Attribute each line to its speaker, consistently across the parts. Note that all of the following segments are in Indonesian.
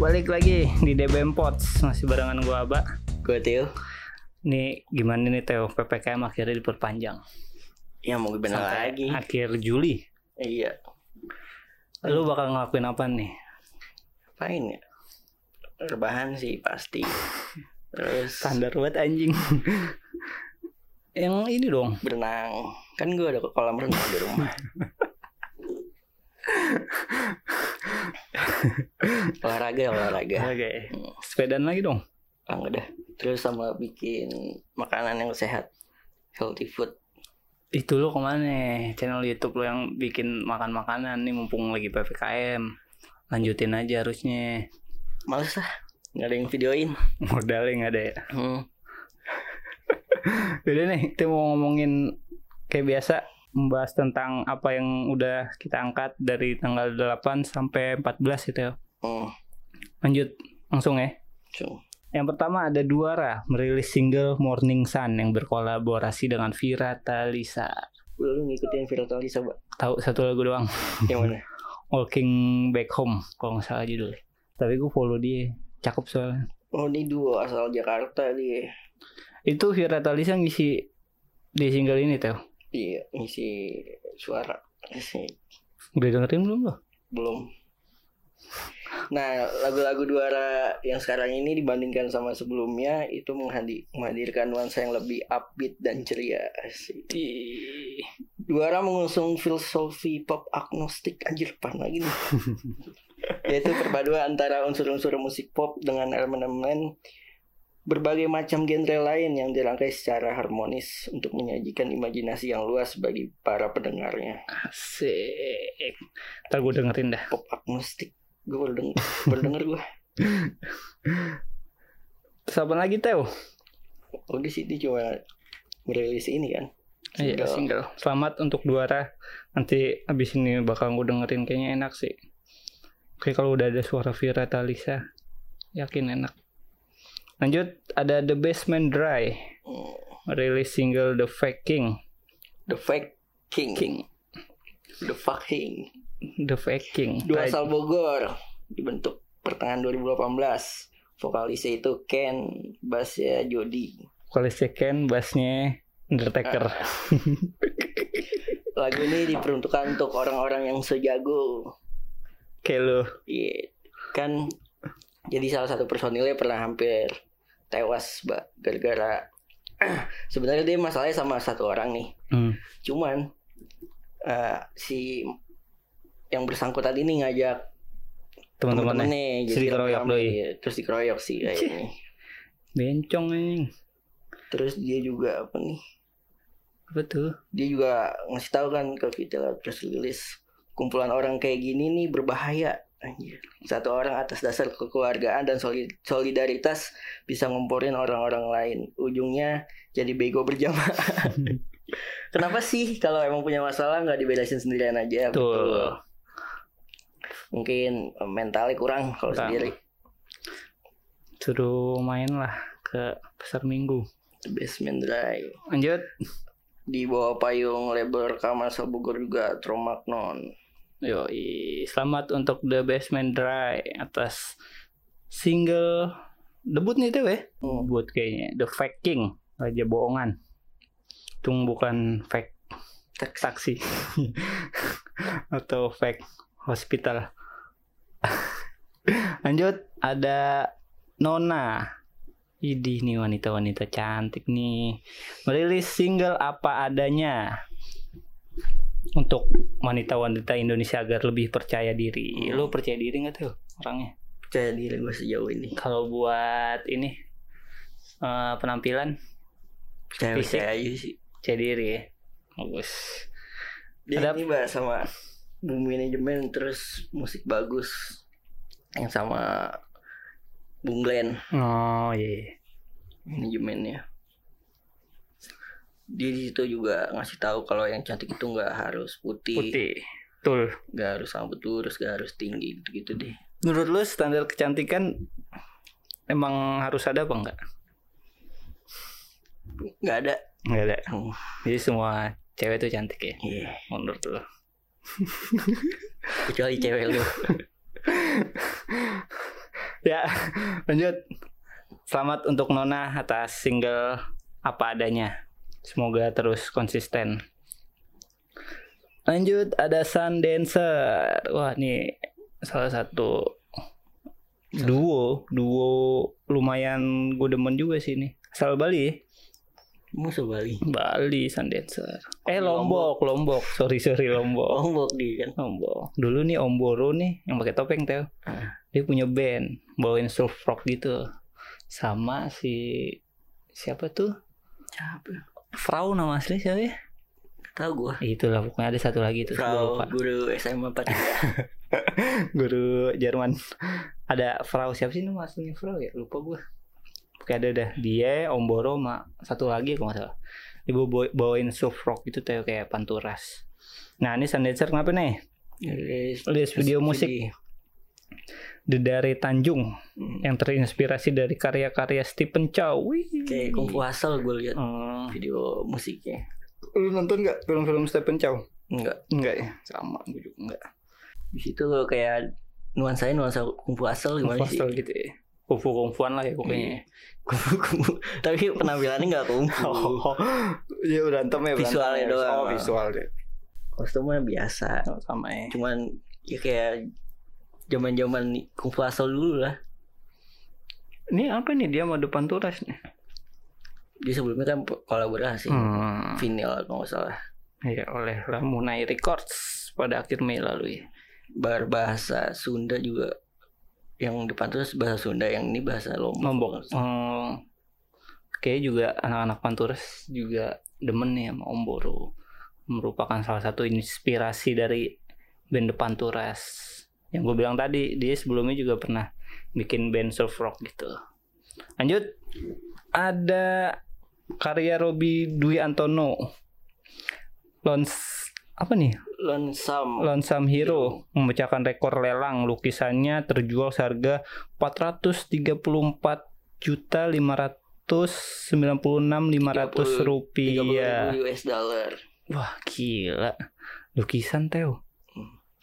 Speaker 1: balik lagi di DBM Pots masih barengan gua Aba.
Speaker 2: Gue Tio
Speaker 1: Nih gimana nih Teo PPKM akhirnya diperpanjang
Speaker 2: Ya mau gimana
Speaker 1: Sampai
Speaker 2: lagi
Speaker 1: akhir Juli.
Speaker 2: Iya
Speaker 1: Lu bakal ngelakuin apa nih?
Speaker 2: Apain ya Rebahan sih pasti Terus
Speaker 1: Standar buat anjing. Yang ini dong.
Speaker 2: berenang Kan gue ada kolam renang di rumah Olahraga olahraga
Speaker 1: Oke. Sepedaan lagi dong.
Speaker 2: Ah, udah Terus sama bikin makanan yang sehat Healthy food
Speaker 1: Itu lu kemana? Channel YouTube lu yang bikin makan makanan nih mumpung lagi ppkm. Lanjutin aja harusnya.
Speaker 2: Males lah Gak ada yang videoin
Speaker 1: Modalnya nggak ada ya.
Speaker 2: hmm.
Speaker 1: Jadi nih, kita mau ngomongin kayak biasa membahas tentang apa yang udah kita angkat dari tanggal 8 sampai 14 gitu ya.
Speaker 2: Hmm.
Speaker 1: Lanjut langsung ya.
Speaker 2: Cuma.
Speaker 1: Yang pertama ada Duara merilis single Morning Sun yang berkolaborasi dengan Vira Talisa.
Speaker 2: Lu ngikutin viral tadi coba
Speaker 1: Tahu satu lagu doang,
Speaker 2: Yang mana?
Speaker 1: Walking Back Home kalau nggak salah judulnya. Tapi gue follow dia, cakep soalnya.
Speaker 2: Oh ini dua asal Jakarta dia
Speaker 1: Itu Vira Talisa ngisi di single ini, Teo.
Speaker 2: Iya, ngisi suara sih
Speaker 1: Udah dengerin belum lo?
Speaker 2: belum. Nah, lagu-lagu duara yang sekarang ini dibandingkan sama sebelumnya itu menghadi- menghadirkan nuansa yang lebih upbeat dan ceria. Asik. Duara mengusung filosofi pop agnostik anjir pan lagi nih. Yaitu perpaduan antara unsur-unsur musik pop dengan elemen-elemen berbagai macam genre lain yang dirangkai secara harmonis untuk menyajikan imajinasi yang luas bagi para pendengarnya.
Speaker 1: Asik. Ntar gue dengerin dah.
Speaker 2: pop agnostik gue baru denger, baru denger gue
Speaker 1: Terus apa lagi, Teo?
Speaker 2: udah sih dia Oh, cuma merilis ini kan
Speaker 1: Iya, single. Selamat untuk Duara. Nanti abis ini bakal gue dengerin kayaknya enak sih. Oke, kalau udah ada suara Vira Talisa, yakin enak. Lanjut, ada The Basement Dry.
Speaker 2: Hmm,
Speaker 1: Rilis single The Faking.
Speaker 2: the fake king, the fucking
Speaker 1: The Faking.
Speaker 2: dua asal Bogor dibentuk pertengahan 2018 vokalisnya itu Ken bassnya Jody
Speaker 1: Kalau second, bassnya Undertaker.
Speaker 2: lagu ini diperuntukkan untuk orang-orang yang sejago
Speaker 1: Kayak lu.
Speaker 2: Iya, kan jadi salah satu personilnya pernah hampir tewas mbak gara-gara sebenarnya dia masalahnya sama satu orang nih
Speaker 1: Hmm.
Speaker 2: cuman eh, si yang bersangkutan ini ngajak
Speaker 1: Teman-temannya.
Speaker 2: temen-temennya
Speaker 1: Terus dikeroyok
Speaker 2: rame,
Speaker 1: doi.
Speaker 2: iya. terus dikeroyok sih kayaknya
Speaker 1: Bencong anjing.
Speaker 2: terus dia juga apa nih
Speaker 1: Apa tuh?
Speaker 2: dia juga ngasih tahu kan ke kita lah terus rilis kumpulan orang kayak gini nih berbahaya Anjir. satu orang atas dasar kekeluargaan dan soli- solidaritas bisa ngomporin orang-orang lain ujungnya jadi bego berjamaah kenapa sih kalau emang punya masalah nggak dibelasin sendirian aja
Speaker 1: Betul.
Speaker 2: mungkin eh, mentalnya kurang kalau
Speaker 1: Kurang.
Speaker 2: sendiri
Speaker 1: Suruh main lah ke pasar minggu.
Speaker 2: The basement drive
Speaker 1: Lanjut.
Speaker 2: di bawah payung label rekaman Bogor juga Tromagnon
Speaker 1: Yoi, selamat untuk The Basement Dry atas single debut nih Teo ya.
Speaker 2: Hmm.
Speaker 1: Buat kayaknya The Faking, Raja Bohongan. Tung bukan fake
Speaker 2: Teks-
Speaker 1: taksi atau fake hospital. Lanjut ada Nona. Idi nih wanita-wanita cantik nih. Merilis single apa adanya untuk wanita-wanita Indonesia agar lebih percaya diri. Lu percaya diri nggak tuh orangnya?
Speaker 2: percaya diri gue sejauh ini
Speaker 1: Kalau buat ini eh, penampilan
Speaker 2: percaya
Speaker 1: Fisik.
Speaker 2: percaya aja sih
Speaker 1: percaya diri ya. Bagus.
Speaker 2: dia
Speaker 1: Ada-
Speaker 2: ini bahas sama bumi manajemen terus musik bagus yang sama Bung Glenn
Speaker 1: Oh iya.
Speaker 2: manajemennya dia di situ juga ngasih tahu kalau yang cantik itu nggak harus putih
Speaker 1: Putih. Betul.
Speaker 2: nggak harus rambut lurus nggak harus tinggi gitu gitu deh
Speaker 1: Menurut lu standar kecantikan emang harus ada apa enggak?
Speaker 2: nggak ada
Speaker 1: Enggak ada.
Speaker 2: Hmm.
Speaker 1: Jadi semua cewek tuh cantik ya
Speaker 2: Iya.
Speaker 1: menurut lu.
Speaker 2: kecuali cewek lu
Speaker 1: ya, lanjut. Selamat untuk Nona atas single apa adanya. Semoga terus konsisten. Lanjut ada Sun Dancer. Wah, nih salah satu duo, duo lumayan gue demen juga sih nih. Asal Bali ya?
Speaker 2: Musuh Bali.
Speaker 1: Bali Sun Dancer. Eh
Speaker 2: Di
Speaker 1: Lombok, Lombok.
Speaker 2: Lombok.
Speaker 1: Sorry, sorry Lombok.
Speaker 2: Lombok dia kan.
Speaker 1: Lombok. Dulu nih Om Boro nih yang pakai topeng Teo.
Speaker 2: Ah.
Speaker 1: Dia punya band bawain surf rock gitu. Sama si siapa tuh?
Speaker 2: Siapa?
Speaker 1: Frau nama asli siapa ya?
Speaker 2: Tahu gua.
Speaker 1: Itulah pokoknya ada satu lagi tuh. Gua
Speaker 2: Frau
Speaker 1: lupa.
Speaker 2: guru SMA 4
Speaker 1: guru Jerman ada Frau siapa sih nama aslinya Frau ya lupa gue Oke ada dah dia Om Boro sama satu lagi kalau nggak salah dia bawa- bawain surf rock gitu tuh kayak panturas nah ini Sandancer kenapa nih
Speaker 2: Rilis
Speaker 1: Rilis video musik dari Tanjung
Speaker 2: Hmm.
Speaker 1: yang terinspirasi dari karya-karya Stephen Chow Wih.
Speaker 2: Kayak Kung Fu Hustle gua lihat
Speaker 1: Hmm.
Speaker 2: video musiknya.
Speaker 1: lu nonton nggak film-film Stephen Chow
Speaker 2: Enggak.
Speaker 1: enggak ya sama gue juga enggak
Speaker 2: Di situ kayak nuansanya nuansa Kung Fu Hustle gimana sih? Iya.
Speaker 1: Hostel gitu ya kungfu-kungfuan lah ya pokoknya
Speaker 2: Kung Fu, Kung Fu. Tapi penampilannya enggak Kung Fu.
Speaker 1: Oh, ya berantem ya berantem
Speaker 2: Visualnya
Speaker 1: ya.
Speaker 2: doang.
Speaker 1: Oh, visual deh.
Speaker 2: Kostumnya biasa.
Speaker 1: Sama ya.
Speaker 2: Cuman ya kayak zaman-zaman Kung Fu Hustle dulu lah.
Speaker 1: Ini apa nih dia mau depan turas nih?
Speaker 2: Dia sebelumnya kan kolaborasi.
Speaker 1: Hmm.
Speaker 2: Vinyl kalau nggak salah.
Speaker 1: Ya oleh Ramunai Records pada akhir Mei lalu ya.
Speaker 2: Berbahasa Sunda juga yang depan terus bahasa Sunda yang ini bahasa Lombok.
Speaker 1: Lombok. Hmm. Kayaknya juga anak-anak Panturas juga demen nih sama Om Boro. Merupakan salah satu inspirasi dari band depan turas. Yang gue bilang tadi, dia sebelumnya juga pernah bikin band surf rock gitu. Lanjut, ada karya Robi Dwi Antono. Lons apa nih?
Speaker 2: Lonsam.
Speaker 1: Lonsam Hero memecahkan rekor lelang lukisannya terjual seharga 434 juta 596.500 rupiah.
Speaker 2: 30.000 US dollar.
Speaker 1: Wah gila, lukisan Teo,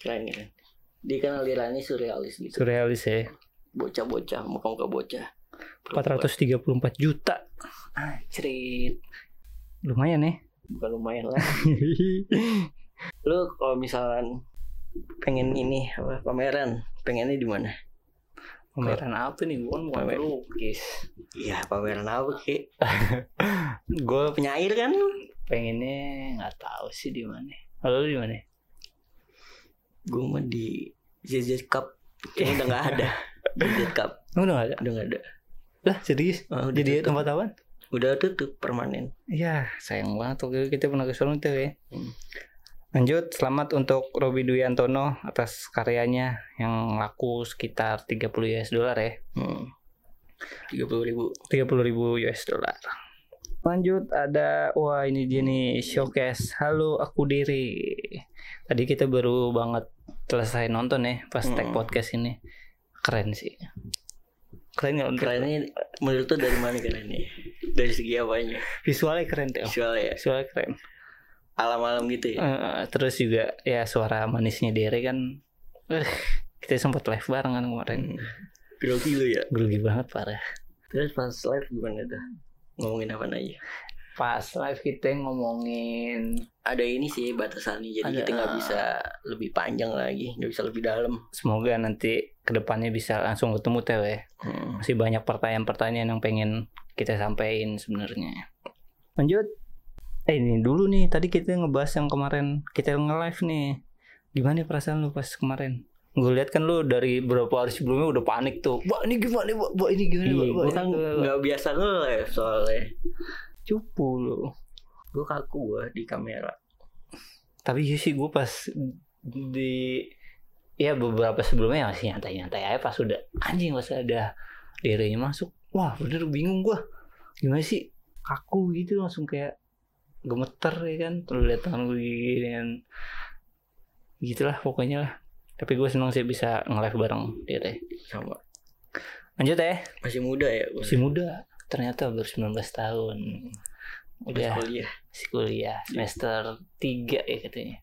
Speaker 2: Keren keren. Dia kan alirannya surrealis gitu.
Speaker 1: surrealis ya.
Speaker 2: Bocah-bocah, muka-muka bocah.
Speaker 1: 434 juta, anjrit, lumayan ya.
Speaker 2: Bukan lumayan lah. Lu kalau misalkan pengen ini apa pameran, pengennya di mana?
Speaker 1: Pameran apa nih? Gue kan bukan
Speaker 2: Pamer.
Speaker 1: pelukis.
Speaker 2: Iya, pameran apa, Ki?
Speaker 1: Gue
Speaker 2: Penyair kan?
Speaker 1: pengennya nggak tahu sih di mana. Kalau lu di mana?
Speaker 2: Gue mau di ZZ Cup. Kayaknya udah nggak ada. ZZ Cup
Speaker 1: Lu udah nggak ada?
Speaker 2: udah nggak ada.
Speaker 1: Lah serius?
Speaker 2: Oh, udah
Speaker 1: Jadi
Speaker 2: tutup.
Speaker 1: tempat apa?
Speaker 2: udah tutup permanen.
Speaker 1: Iya, sayang banget waktu itu kita pernah ke sono tuh ya.
Speaker 2: Hmm.
Speaker 1: Lanjut, selamat untuk Robi Dwi Antono atas karyanya yang laku sekitar 30 US dollar ya.
Speaker 2: Hmm. Tiga puluh ribu.
Speaker 1: 30 ribu US dollar. Lanjut ada wah ini dia nih showcase. Halo aku diri. Tadi kita baru banget selesai nonton ya pas tag
Speaker 2: Hmm.
Speaker 1: podcast ini. Keren sih. Keren nggak? Keren.
Speaker 2: Kerennya menurut tuh dari mana kerennya? Dari segi apanya?
Speaker 1: Visualnya keren tuh.
Speaker 2: Visual ya.
Speaker 1: Visualnya keren.
Speaker 2: Alam-alam gitu ya.
Speaker 1: Eh, terus juga ya suara manisnya Dere kan eh, kita sempat live bareng kan kemarin
Speaker 2: Hmm. Grogi lu ya.
Speaker 1: grogi banget parah
Speaker 2: Terus pas live gimana dah? Ngomongin apa aja?
Speaker 1: pas live kita ngomongin
Speaker 2: Ada ini sih batasannya jadi
Speaker 1: Ada.
Speaker 2: kita nggak bisa lebih panjang lagi, nggak bisa lebih dalam.
Speaker 1: semoga nanti kedepannya bisa langsung ketemu Teo ya
Speaker 2: Hmm.
Speaker 1: masih banyak pertanyaan-pertanyaan yang pengen kita sampaikan sebenarnya lanjut eh ini dulu nih tadi kita ngebahas yang kemarin kita nge live nih gimana perasaan lu pas kemarin gue lihat kan lu dari beberapa hari sebelumnya udah panik tuh wah ini gimana wah, wah ini gimana wah,
Speaker 2: Iya,
Speaker 1: wah,
Speaker 2: gue kan
Speaker 1: ini gimana, wah."
Speaker 2: nggak biasa nge-live soalnya.
Speaker 1: cupu lu
Speaker 2: Gue kaku gue di kamera.
Speaker 1: tapi iya sih gue pas di ya beberapa sebelumnya masih nyantai-nyantai aja pas udah anjing pas ada dirinya masuk wah bener bingung gua gimana sih aku gitu langsung kayak gemeter ya kan terus lihat tangan gue gini kan gitulah pokoknya lah tapi gue seneng sih bisa nge-live bareng Dere
Speaker 2: Sama.
Speaker 1: lanjut ya
Speaker 2: Masih muda ya gue.
Speaker 1: masih muda ternyata baru 19 tahun udah
Speaker 2: kuliah.
Speaker 1: masih kuliah semester 3 ya katanya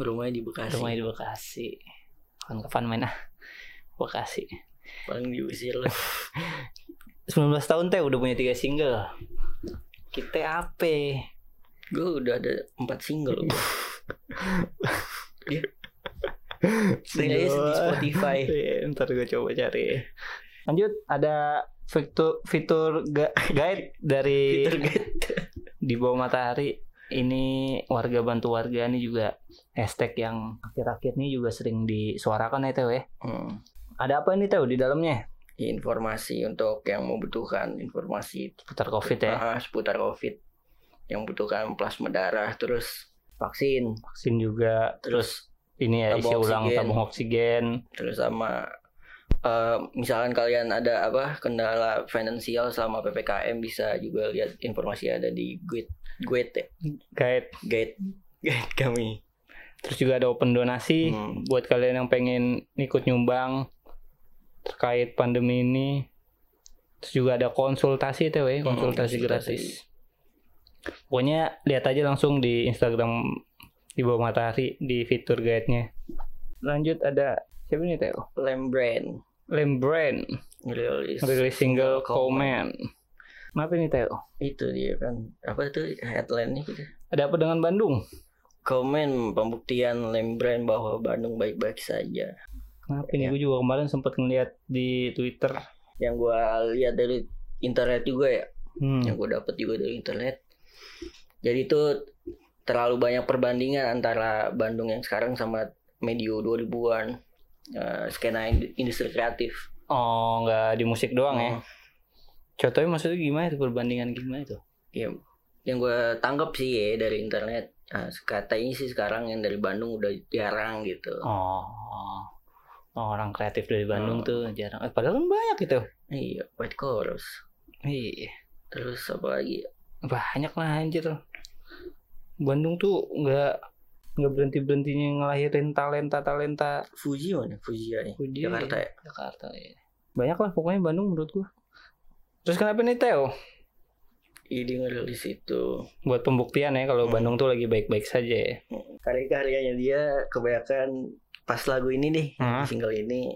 Speaker 2: Rumahnya di Bekasi.
Speaker 1: rumahnya di Bekasi kapan-kapan main ah Bekasi
Speaker 2: paling diusir lah
Speaker 1: 19 tahun teh udah punya tiga single. Kita apa?
Speaker 2: gue udah ada empat single Iya. Playlist di Spotify.
Speaker 1: Iya, ntar gue coba cari. Lanjut ada fitur fitur ga- guide dari
Speaker 2: Peter Gate
Speaker 1: di bawah matahari. Ini warga bantu warga ini juga hashtag yang akhir-akhir ini juga sering disuarakan ya Teo ya.
Speaker 2: Hmm.
Speaker 1: Ada apa ini Teo di dalamnya?
Speaker 2: informasi untuk yang membutuhkan informasi
Speaker 1: Putar covid ya.
Speaker 2: ah, seputar covid yang membutuhkan plasma darah terus vaksin
Speaker 1: Vaksin juga. Terus ini ya
Speaker 2: Tabung
Speaker 1: isi ulang
Speaker 2: oksigen.
Speaker 1: tabung oksigen.
Speaker 2: terus sama eh, misalkan kalian ada apa kendala finansial selama ppkm bisa juga lihat informasi ada di guide guide ya?
Speaker 1: Guide.
Speaker 2: guide guide kami
Speaker 1: Terus juga ada open donasi.
Speaker 2: Hmm.
Speaker 1: buat kalian yang pengen ikut nyumbang terkait pandemi ini terus juga ada konsultasi TW
Speaker 2: Hmm,
Speaker 1: konsultasi
Speaker 2: konsultasi.
Speaker 1: gratis pokoknya lihat aja langsung di Instagram di bawah matahari di fitur guide-nya lanjut ada siapa nih Teo
Speaker 2: lem brand
Speaker 1: Lembrand
Speaker 2: rilis
Speaker 1: rilis single comment
Speaker 2: Comment.
Speaker 1: kenapa nih Teo
Speaker 2: itu dia kan apa tuh headline-nya gitu
Speaker 1: ada apa dengan Bandung
Speaker 2: komen pembuktian Lembran bahwa Bandung baik-baik saja
Speaker 1: kenapa
Speaker 2: Iya.
Speaker 1: nih gue juga kemarin sempat ngeliat di Twitter
Speaker 2: yang gua lihat dari internet juga ya yang
Speaker 1: hmm.
Speaker 2: gue dapat juga dari internet jadi itu terlalu banyak perbandingan antara Bandung yang sekarang sama medio 2000-an eh, skena ind- industri kreatif
Speaker 1: oh nggak di musik doang ya
Speaker 2: Hmm.
Speaker 1: Contohnya maksudnya gimana itu perbandingan gimana itu?
Speaker 2: Iya, yang gue tanggap sih ya dari internet eh, katanya sih sekarang yang dari Bandung udah jarang gitu
Speaker 1: Oh, oh, orang kreatif dari Bandung
Speaker 2: Oh.
Speaker 1: tuh jarang. Eh, padahal kan banyak gitu.
Speaker 2: iya white chorus
Speaker 1: Iya,
Speaker 2: terus apa lagi
Speaker 1: banyak lah anjir. Bandung tuh nggak nggak berhenti berhentinya ngelahirin talenta talenta
Speaker 2: Fuji mana Fuji ya nih
Speaker 1: Fuji.
Speaker 2: Jakarta ya
Speaker 1: Jakarta ya. Banyak lah pokoknya Bandung menurut gua. Terus kenapa nih Teo?
Speaker 2: Idi Iya, ngerilis itu
Speaker 1: Buat pembuktian ya kalau
Speaker 2: Hmm.
Speaker 1: Bandung tuh lagi baik-baik saja ya.
Speaker 2: karya-karyanya dia kebanyakan pas lagu ini deh
Speaker 1: Hmm.
Speaker 2: single ini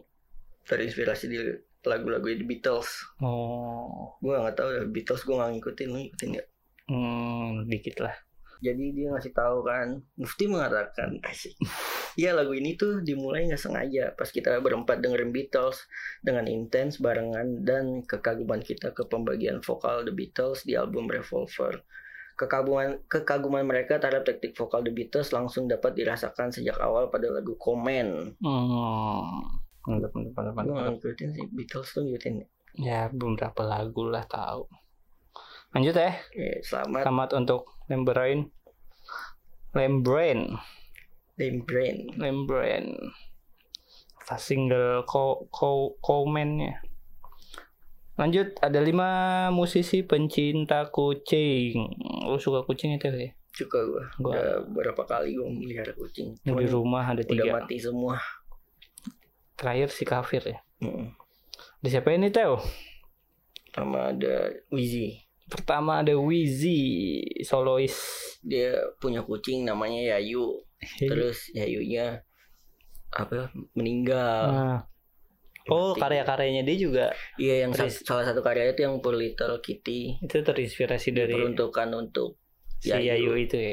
Speaker 2: terinspirasi di lagu-lagu The Beatles
Speaker 1: Oh,
Speaker 2: gue nggak tahu The Beatles gue nggak ngikutin lu ngikutin nggak
Speaker 1: hmm, dikit lah.
Speaker 2: jadi dia ngasih tahu kan Mufti mengatakan asik Iya lagu ini tuh dimulai nggak sengaja pas kita berempat dengerin Beatles dengan intens barengan dan kekaguman kita ke pembagian vokal The Beatles di album Revolver. Kekaguman kekaguman mereka terhadap teknik vokal The Beatles langsung dapat dirasakan sejak awal pada lagu Comment.
Speaker 1: Hmm. Mantap, mantap, mantap,
Speaker 2: Gue
Speaker 1: mantap.
Speaker 2: nggak ngikutin sih Beatles tuh ngikutin.
Speaker 1: Ya, beberapa lagu lah tahu. Lanjut ya.
Speaker 2: Eh, selamat
Speaker 1: Selamat untuk Lembrain. Lembrain,
Speaker 2: Lembrain.
Speaker 1: Lembrain. Atas Single ko ko komennya. Lanjut ada lima musisi pencinta kucing. Lu suka kucing itu ya?
Speaker 2: Suka gue.
Speaker 1: Gua
Speaker 2: Udah berapa kali gue melihara kucing.
Speaker 1: Ini di
Speaker 2: Ya, Cuman
Speaker 1: rumah ada
Speaker 2: udah
Speaker 1: tiga.
Speaker 2: mati semua.
Speaker 1: Terakhir si kafir ya.
Speaker 2: Mm.
Speaker 1: Ada siapa ini Teo?
Speaker 2: Sama ada Wizzy.
Speaker 1: Pertama ada Wizi solois.
Speaker 2: Dia punya kucing namanya Yayu. terus Yayunya apa meninggal
Speaker 1: Nah. Oh karya-karyanya dia juga
Speaker 2: iya yang sa-
Speaker 1: Terus-
Speaker 2: salah satu karya itu yang Poor Little Kitty
Speaker 1: itu terinspirasi dari
Speaker 2: diperuntukkan untuk
Speaker 1: si
Speaker 2: Yayu.
Speaker 1: Yayu itu ya.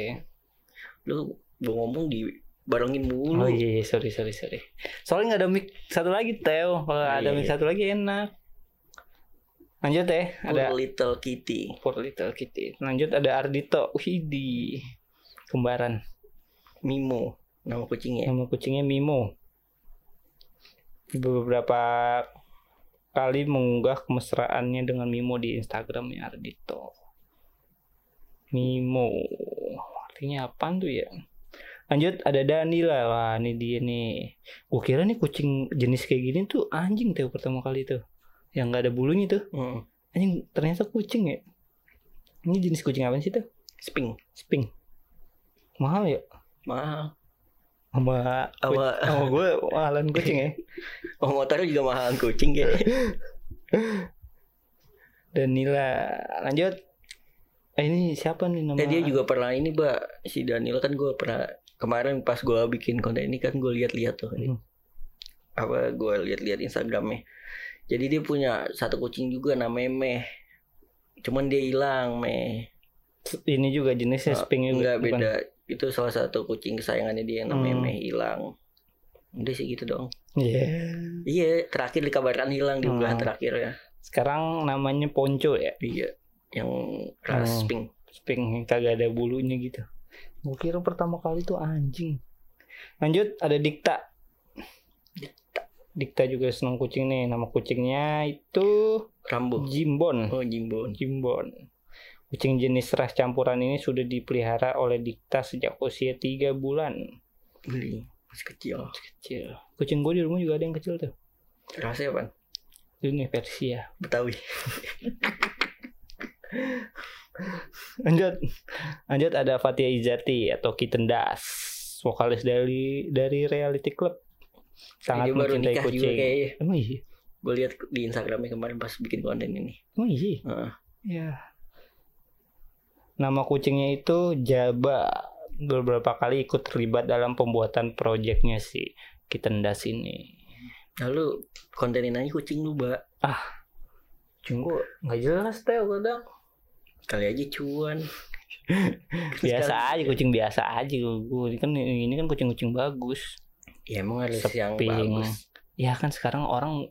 Speaker 2: lu gua ngomong di barengin mulu
Speaker 1: Oh iya, iya, sorry sorry sorry. Soalnya nggak ada mic satu lagi Teo. Kalau
Speaker 2: Oh,
Speaker 1: ada
Speaker 2: iya.
Speaker 1: mic satu lagi enak. Lanjut ya,
Speaker 2: Poor
Speaker 1: ada
Speaker 2: Little Kitty
Speaker 1: Poor Little Kitty. Lanjut ada Ardito. Wih di kembaran.
Speaker 2: Mimo nama kucingnya
Speaker 1: Nama kucingnya Mimo. Beberapa kali mengunggah kemesraannya dengan Mimo di Instagramnya Ardito. Mimo. Artinya apaan tuh ya? Lanjut ada Danila. Wah, ini dia nih. Gue kira nih kucing jenis kayak gini tuh anjing tuh pertama kali tuh. Yang nggak ada bulunya tuh.
Speaker 2: Hmm,
Speaker 1: Anjing ternyata kucing ya. Ini jenis kucing apa sih tuh?
Speaker 2: Sphinx
Speaker 1: Sphinx. Mahal ya?
Speaker 2: mahal
Speaker 1: Sama
Speaker 2: sama
Speaker 1: sama gue mahalan kucing ya
Speaker 2: oh, motornya juga mahal kucing ya
Speaker 1: dan Nila lanjut eh, ini siapa nih nama
Speaker 2: Eh, dia juga pernah ini mbak si Daniel kan gua pernah kemarin pas gua bikin konten ini kan gue lihat-lihat tuh
Speaker 1: Hmm.
Speaker 2: apa gue lihat-lihat Instagramnya Jadi dia punya satu kucing juga namanya Meh. Cuman dia hilang Meh.
Speaker 1: Ini juga jenisnya Sphinx juga.
Speaker 2: Oh, Enggak
Speaker 1: Iya, bukan?
Speaker 2: beda. Itu salah satu kucing kesayangannya dia namanya
Speaker 1: Hmm.
Speaker 2: Meh hilang. Udah sih gitu dong.
Speaker 1: Iya.
Speaker 2: Iya, terakhir dikabarkan hilang di bulan
Speaker 1: Hmm.
Speaker 2: terakhir ya.
Speaker 1: Sekarang namanya Ponco ya.
Speaker 2: Iya. Yang
Speaker 1: Hmm.
Speaker 2: ras pink.
Speaker 1: Sphinx yang kagak ada bulunya gitu. Gue kira pertama kali tuh anjing. Lanjut ada Dikta. Dikta juga seneng kucing nih. Nama kucingnya itu
Speaker 2: Rambo.
Speaker 1: Jimbon.
Speaker 2: Oh, Jimbon.
Speaker 1: Jimbon. Kucing jenis ras campuran ini sudah dipelihara oleh Dikta sejak usia 3 bulan.
Speaker 2: Beli masih kecil.
Speaker 1: Kecil. Kucing gue di rumah juga ada yang kecil tuh.
Speaker 2: Rasanya apa?
Speaker 1: Ini Persia.
Speaker 2: Betawi.
Speaker 1: Lanjut. Lanjut ada Fatia Izati atau Kitten Das. Vokalis dari dari Reality Club. Sangat
Speaker 2: Dia baru
Speaker 1: mencintai
Speaker 2: nikah juga
Speaker 1: kucing.
Speaker 2: kayaknya.
Speaker 1: Emang iya?
Speaker 2: Gue lihat di Instagramnya kemarin pas bikin konten ini.
Speaker 1: Emang iya?
Speaker 2: Heeh.
Speaker 1: Ya. Nama kucingnya itu Jaba. Beberapa kali ikut terlibat dalam pembuatan proyeknya si Kitten Das ini.
Speaker 2: Lalu kontenin aja kucing lu, Mbak.
Speaker 1: Ah. Cunggu nggak jelas teh kadang.
Speaker 2: Kali aja cuan.
Speaker 1: Biasa aja kucing biasa aja gue. Ini kan ini kan kucing-kucing bagus.
Speaker 2: Ya emang harus yang
Speaker 1: Seping.
Speaker 2: bagus.
Speaker 1: Ya kan sekarang orang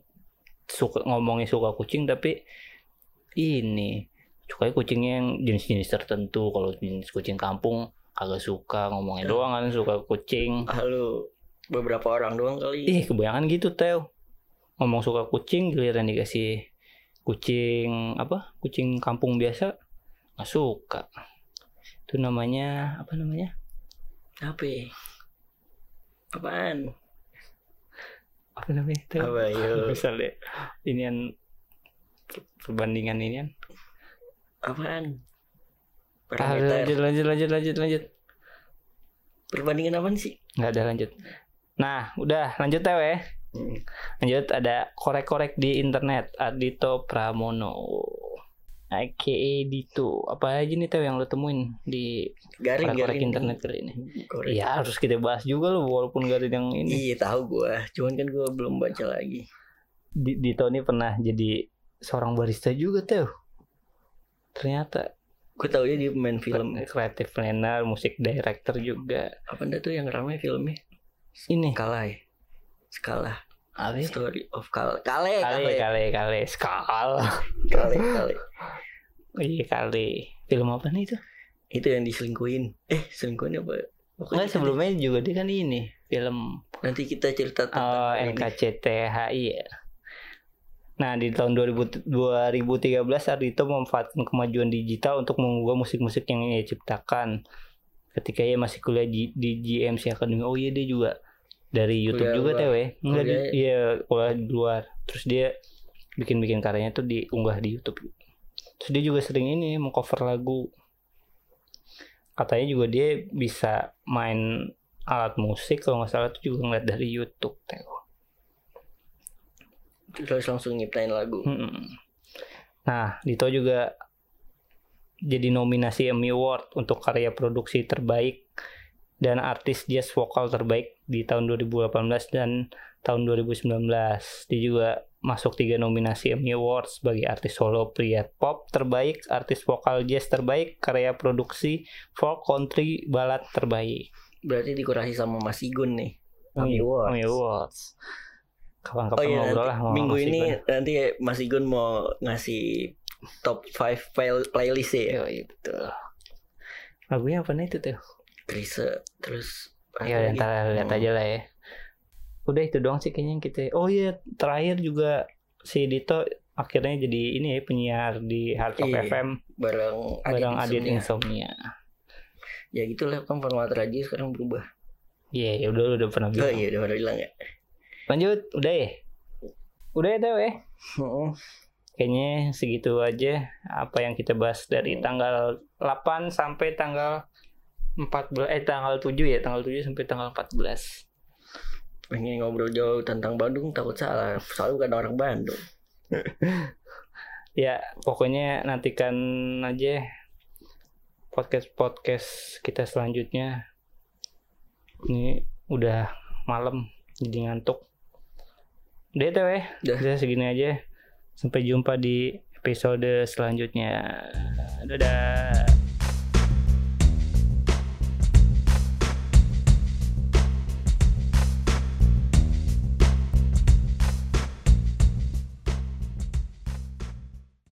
Speaker 1: suka ngomongin suka kucing tapi ini suka kucingnya yang jenis-jenis tertentu. Kalau jenis kucing kampung kagak suka
Speaker 2: Iya.
Speaker 1: ngomongin doang kan suka kucing.
Speaker 2: Lalu beberapa orang doang kali.
Speaker 1: Ih kebanyakan gitu Teo. Ngomong suka kucing giliran dikasih kucing apa kucing kampung biasa nggak suka. Itu namanya apa namanya?
Speaker 2: Apa? ya? Apaan?
Speaker 1: apa namanya itu
Speaker 2: Apa ya? yuk?
Speaker 1: misalnya ini kan perbandingan ini kan
Speaker 2: Apaan?
Speaker 1: Ah,
Speaker 2: Parameter.
Speaker 1: lanjut lanjut lanjut lanjut lanjut
Speaker 2: Perbandingan apaan sih?
Speaker 1: nggak ada lanjut nah udah lanjut ya weh. lanjut ada korek-korek di internet Adito Pramono aka Dito apa aja nih Tew yang lo temuin di
Speaker 2: Garing,
Speaker 1: korek-korek
Speaker 2: garing.
Speaker 1: internet kali ini
Speaker 2: Korek.
Speaker 1: Iya harus kita bahas juga lo walaupun gak ada yang ini
Speaker 2: Iya tahu gua, cuman kan gua belum baca lagi.
Speaker 1: Di- Dito ini pernah jadi seorang barista juga Tew ternyata
Speaker 2: Gua taunya dia main film.
Speaker 1: kreatif planner, musik director juga.
Speaker 2: Apa ndak tuh yang ramai filmnya?
Speaker 1: Ini
Speaker 2: Kalai. Skala.
Speaker 1: kali
Speaker 2: Story of Kale. Kale,
Speaker 1: kali
Speaker 2: Kale,
Speaker 1: kali kali skala.
Speaker 2: Kale, Kale.
Speaker 1: Iya kali. Film apa nih itu?
Speaker 2: Itu yang diselingkuhin. Eh, selingkuhin apa?
Speaker 1: Enggak sebelumnya juga dia kan ini film
Speaker 2: Nanti kita cerita tentang
Speaker 1: eh,
Speaker 2: ini.
Speaker 1: NKCTHI ya. Nah di tahun 2000 2013 Ardito memanfaatkan kemajuan digital untuk mengubah musik-musik yang ia ciptakan. Ketika ia masih kuliah di, di GMC Academy. Oh iya dia juga dari YouTube
Speaker 2: Kuliah
Speaker 1: juga
Speaker 2: luar.
Speaker 1: TW. Enggak di,
Speaker 2: Kuliah-
Speaker 1: iya kuliah di luar. Terus dia bikin-bikin karyanya tuh diunggah di YouTube. Terus dia juga sering ini mengcover lagu. Katanya juga dia bisa main alat musik kalau nggak salah tuh juga ngeliat dari YouTube Teo.
Speaker 2: Terus langsung nyiptain lagu.
Speaker 1: Mm-mm. Nah, Dito juga jadi nominasi Emmy Award untuk karya produksi terbaik dan artis jazz vokal terbaik di tahun 2018 dan tahun 2019. Dia juga masuk tiga nominasi Emmy Award sebagai artis solo pria pop terbaik, artis vokal jazz terbaik, karya produksi folk country balad terbaik.
Speaker 2: Berarti dikurasi sama Mas Igun nih.
Speaker 1: Oh, iya.
Speaker 2: Emmy Awards.
Speaker 1: Emmy Awards. Kapan-kapan
Speaker 2: Oh iya,
Speaker 1: ngobrol
Speaker 2: nanti-
Speaker 1: lah sama
Speaker 2: Minggu
Speaker 1: Mas
Speaker 2: ini
Speaker 1: Igun.
Speaker 2: nanti Mas Igun mau ngasih top 5 playlist ya.
Speaker 1: Yoi, betul. Lagunya apa nih itu tuh?
Speaker 2: Research terus apa
Speaker 1: Ya
Speaker 2: lagi?
Speaker 1: ntar lihat
Speaker 2: Hmm.
Speaker 1: aja lah ya. Udah itu doang sih kayaknya yang kita. Oh iya terakhir juga si Dito akhirnya jadi ini ya penyiar di Hard Rock
Speaker 2: Iya,
Speaker 1: FM
Speaker 2: bareng
Speaker 1: bareng Adit
Speaker 2: Insomnia.
Speaker 1: Insomnia.
Speaker 2: Ya gitulah kan format radio sekarang berubah.
Speaker 1: Iya ya udah lu udah pernah
Speaker 2: Oh
Speaker 1: bilang.
Speaker 2: iya udah pernah bilang ya.
Speaker 1: Lanjut udah ya. Udah ya Teo ya.
Speaker 2: Heeh.
Speaker 1: Kayaknya segitu aja apa yang kita bahas dari
Speaker 2: Iya.
Speaker 1: tanggal 8 sampai tanggal 14 eh tanggal 7 ya, tanggal 7 sampai tanggal 14.
Speaker 2: Pengen ngobrol jauh tentang Bandung takut salah. Soalnya bukan orang Bandung.
Speaker 1: ya pokoknya nantikan aja podcast podcast kita selanjutnya ini udah malam jadi ngantuk Udah itu ya.
Speaker 2: Udah.
Speaker 1: Udah segini aja. Sampai jumpa di episode selanjutnya. Dadah.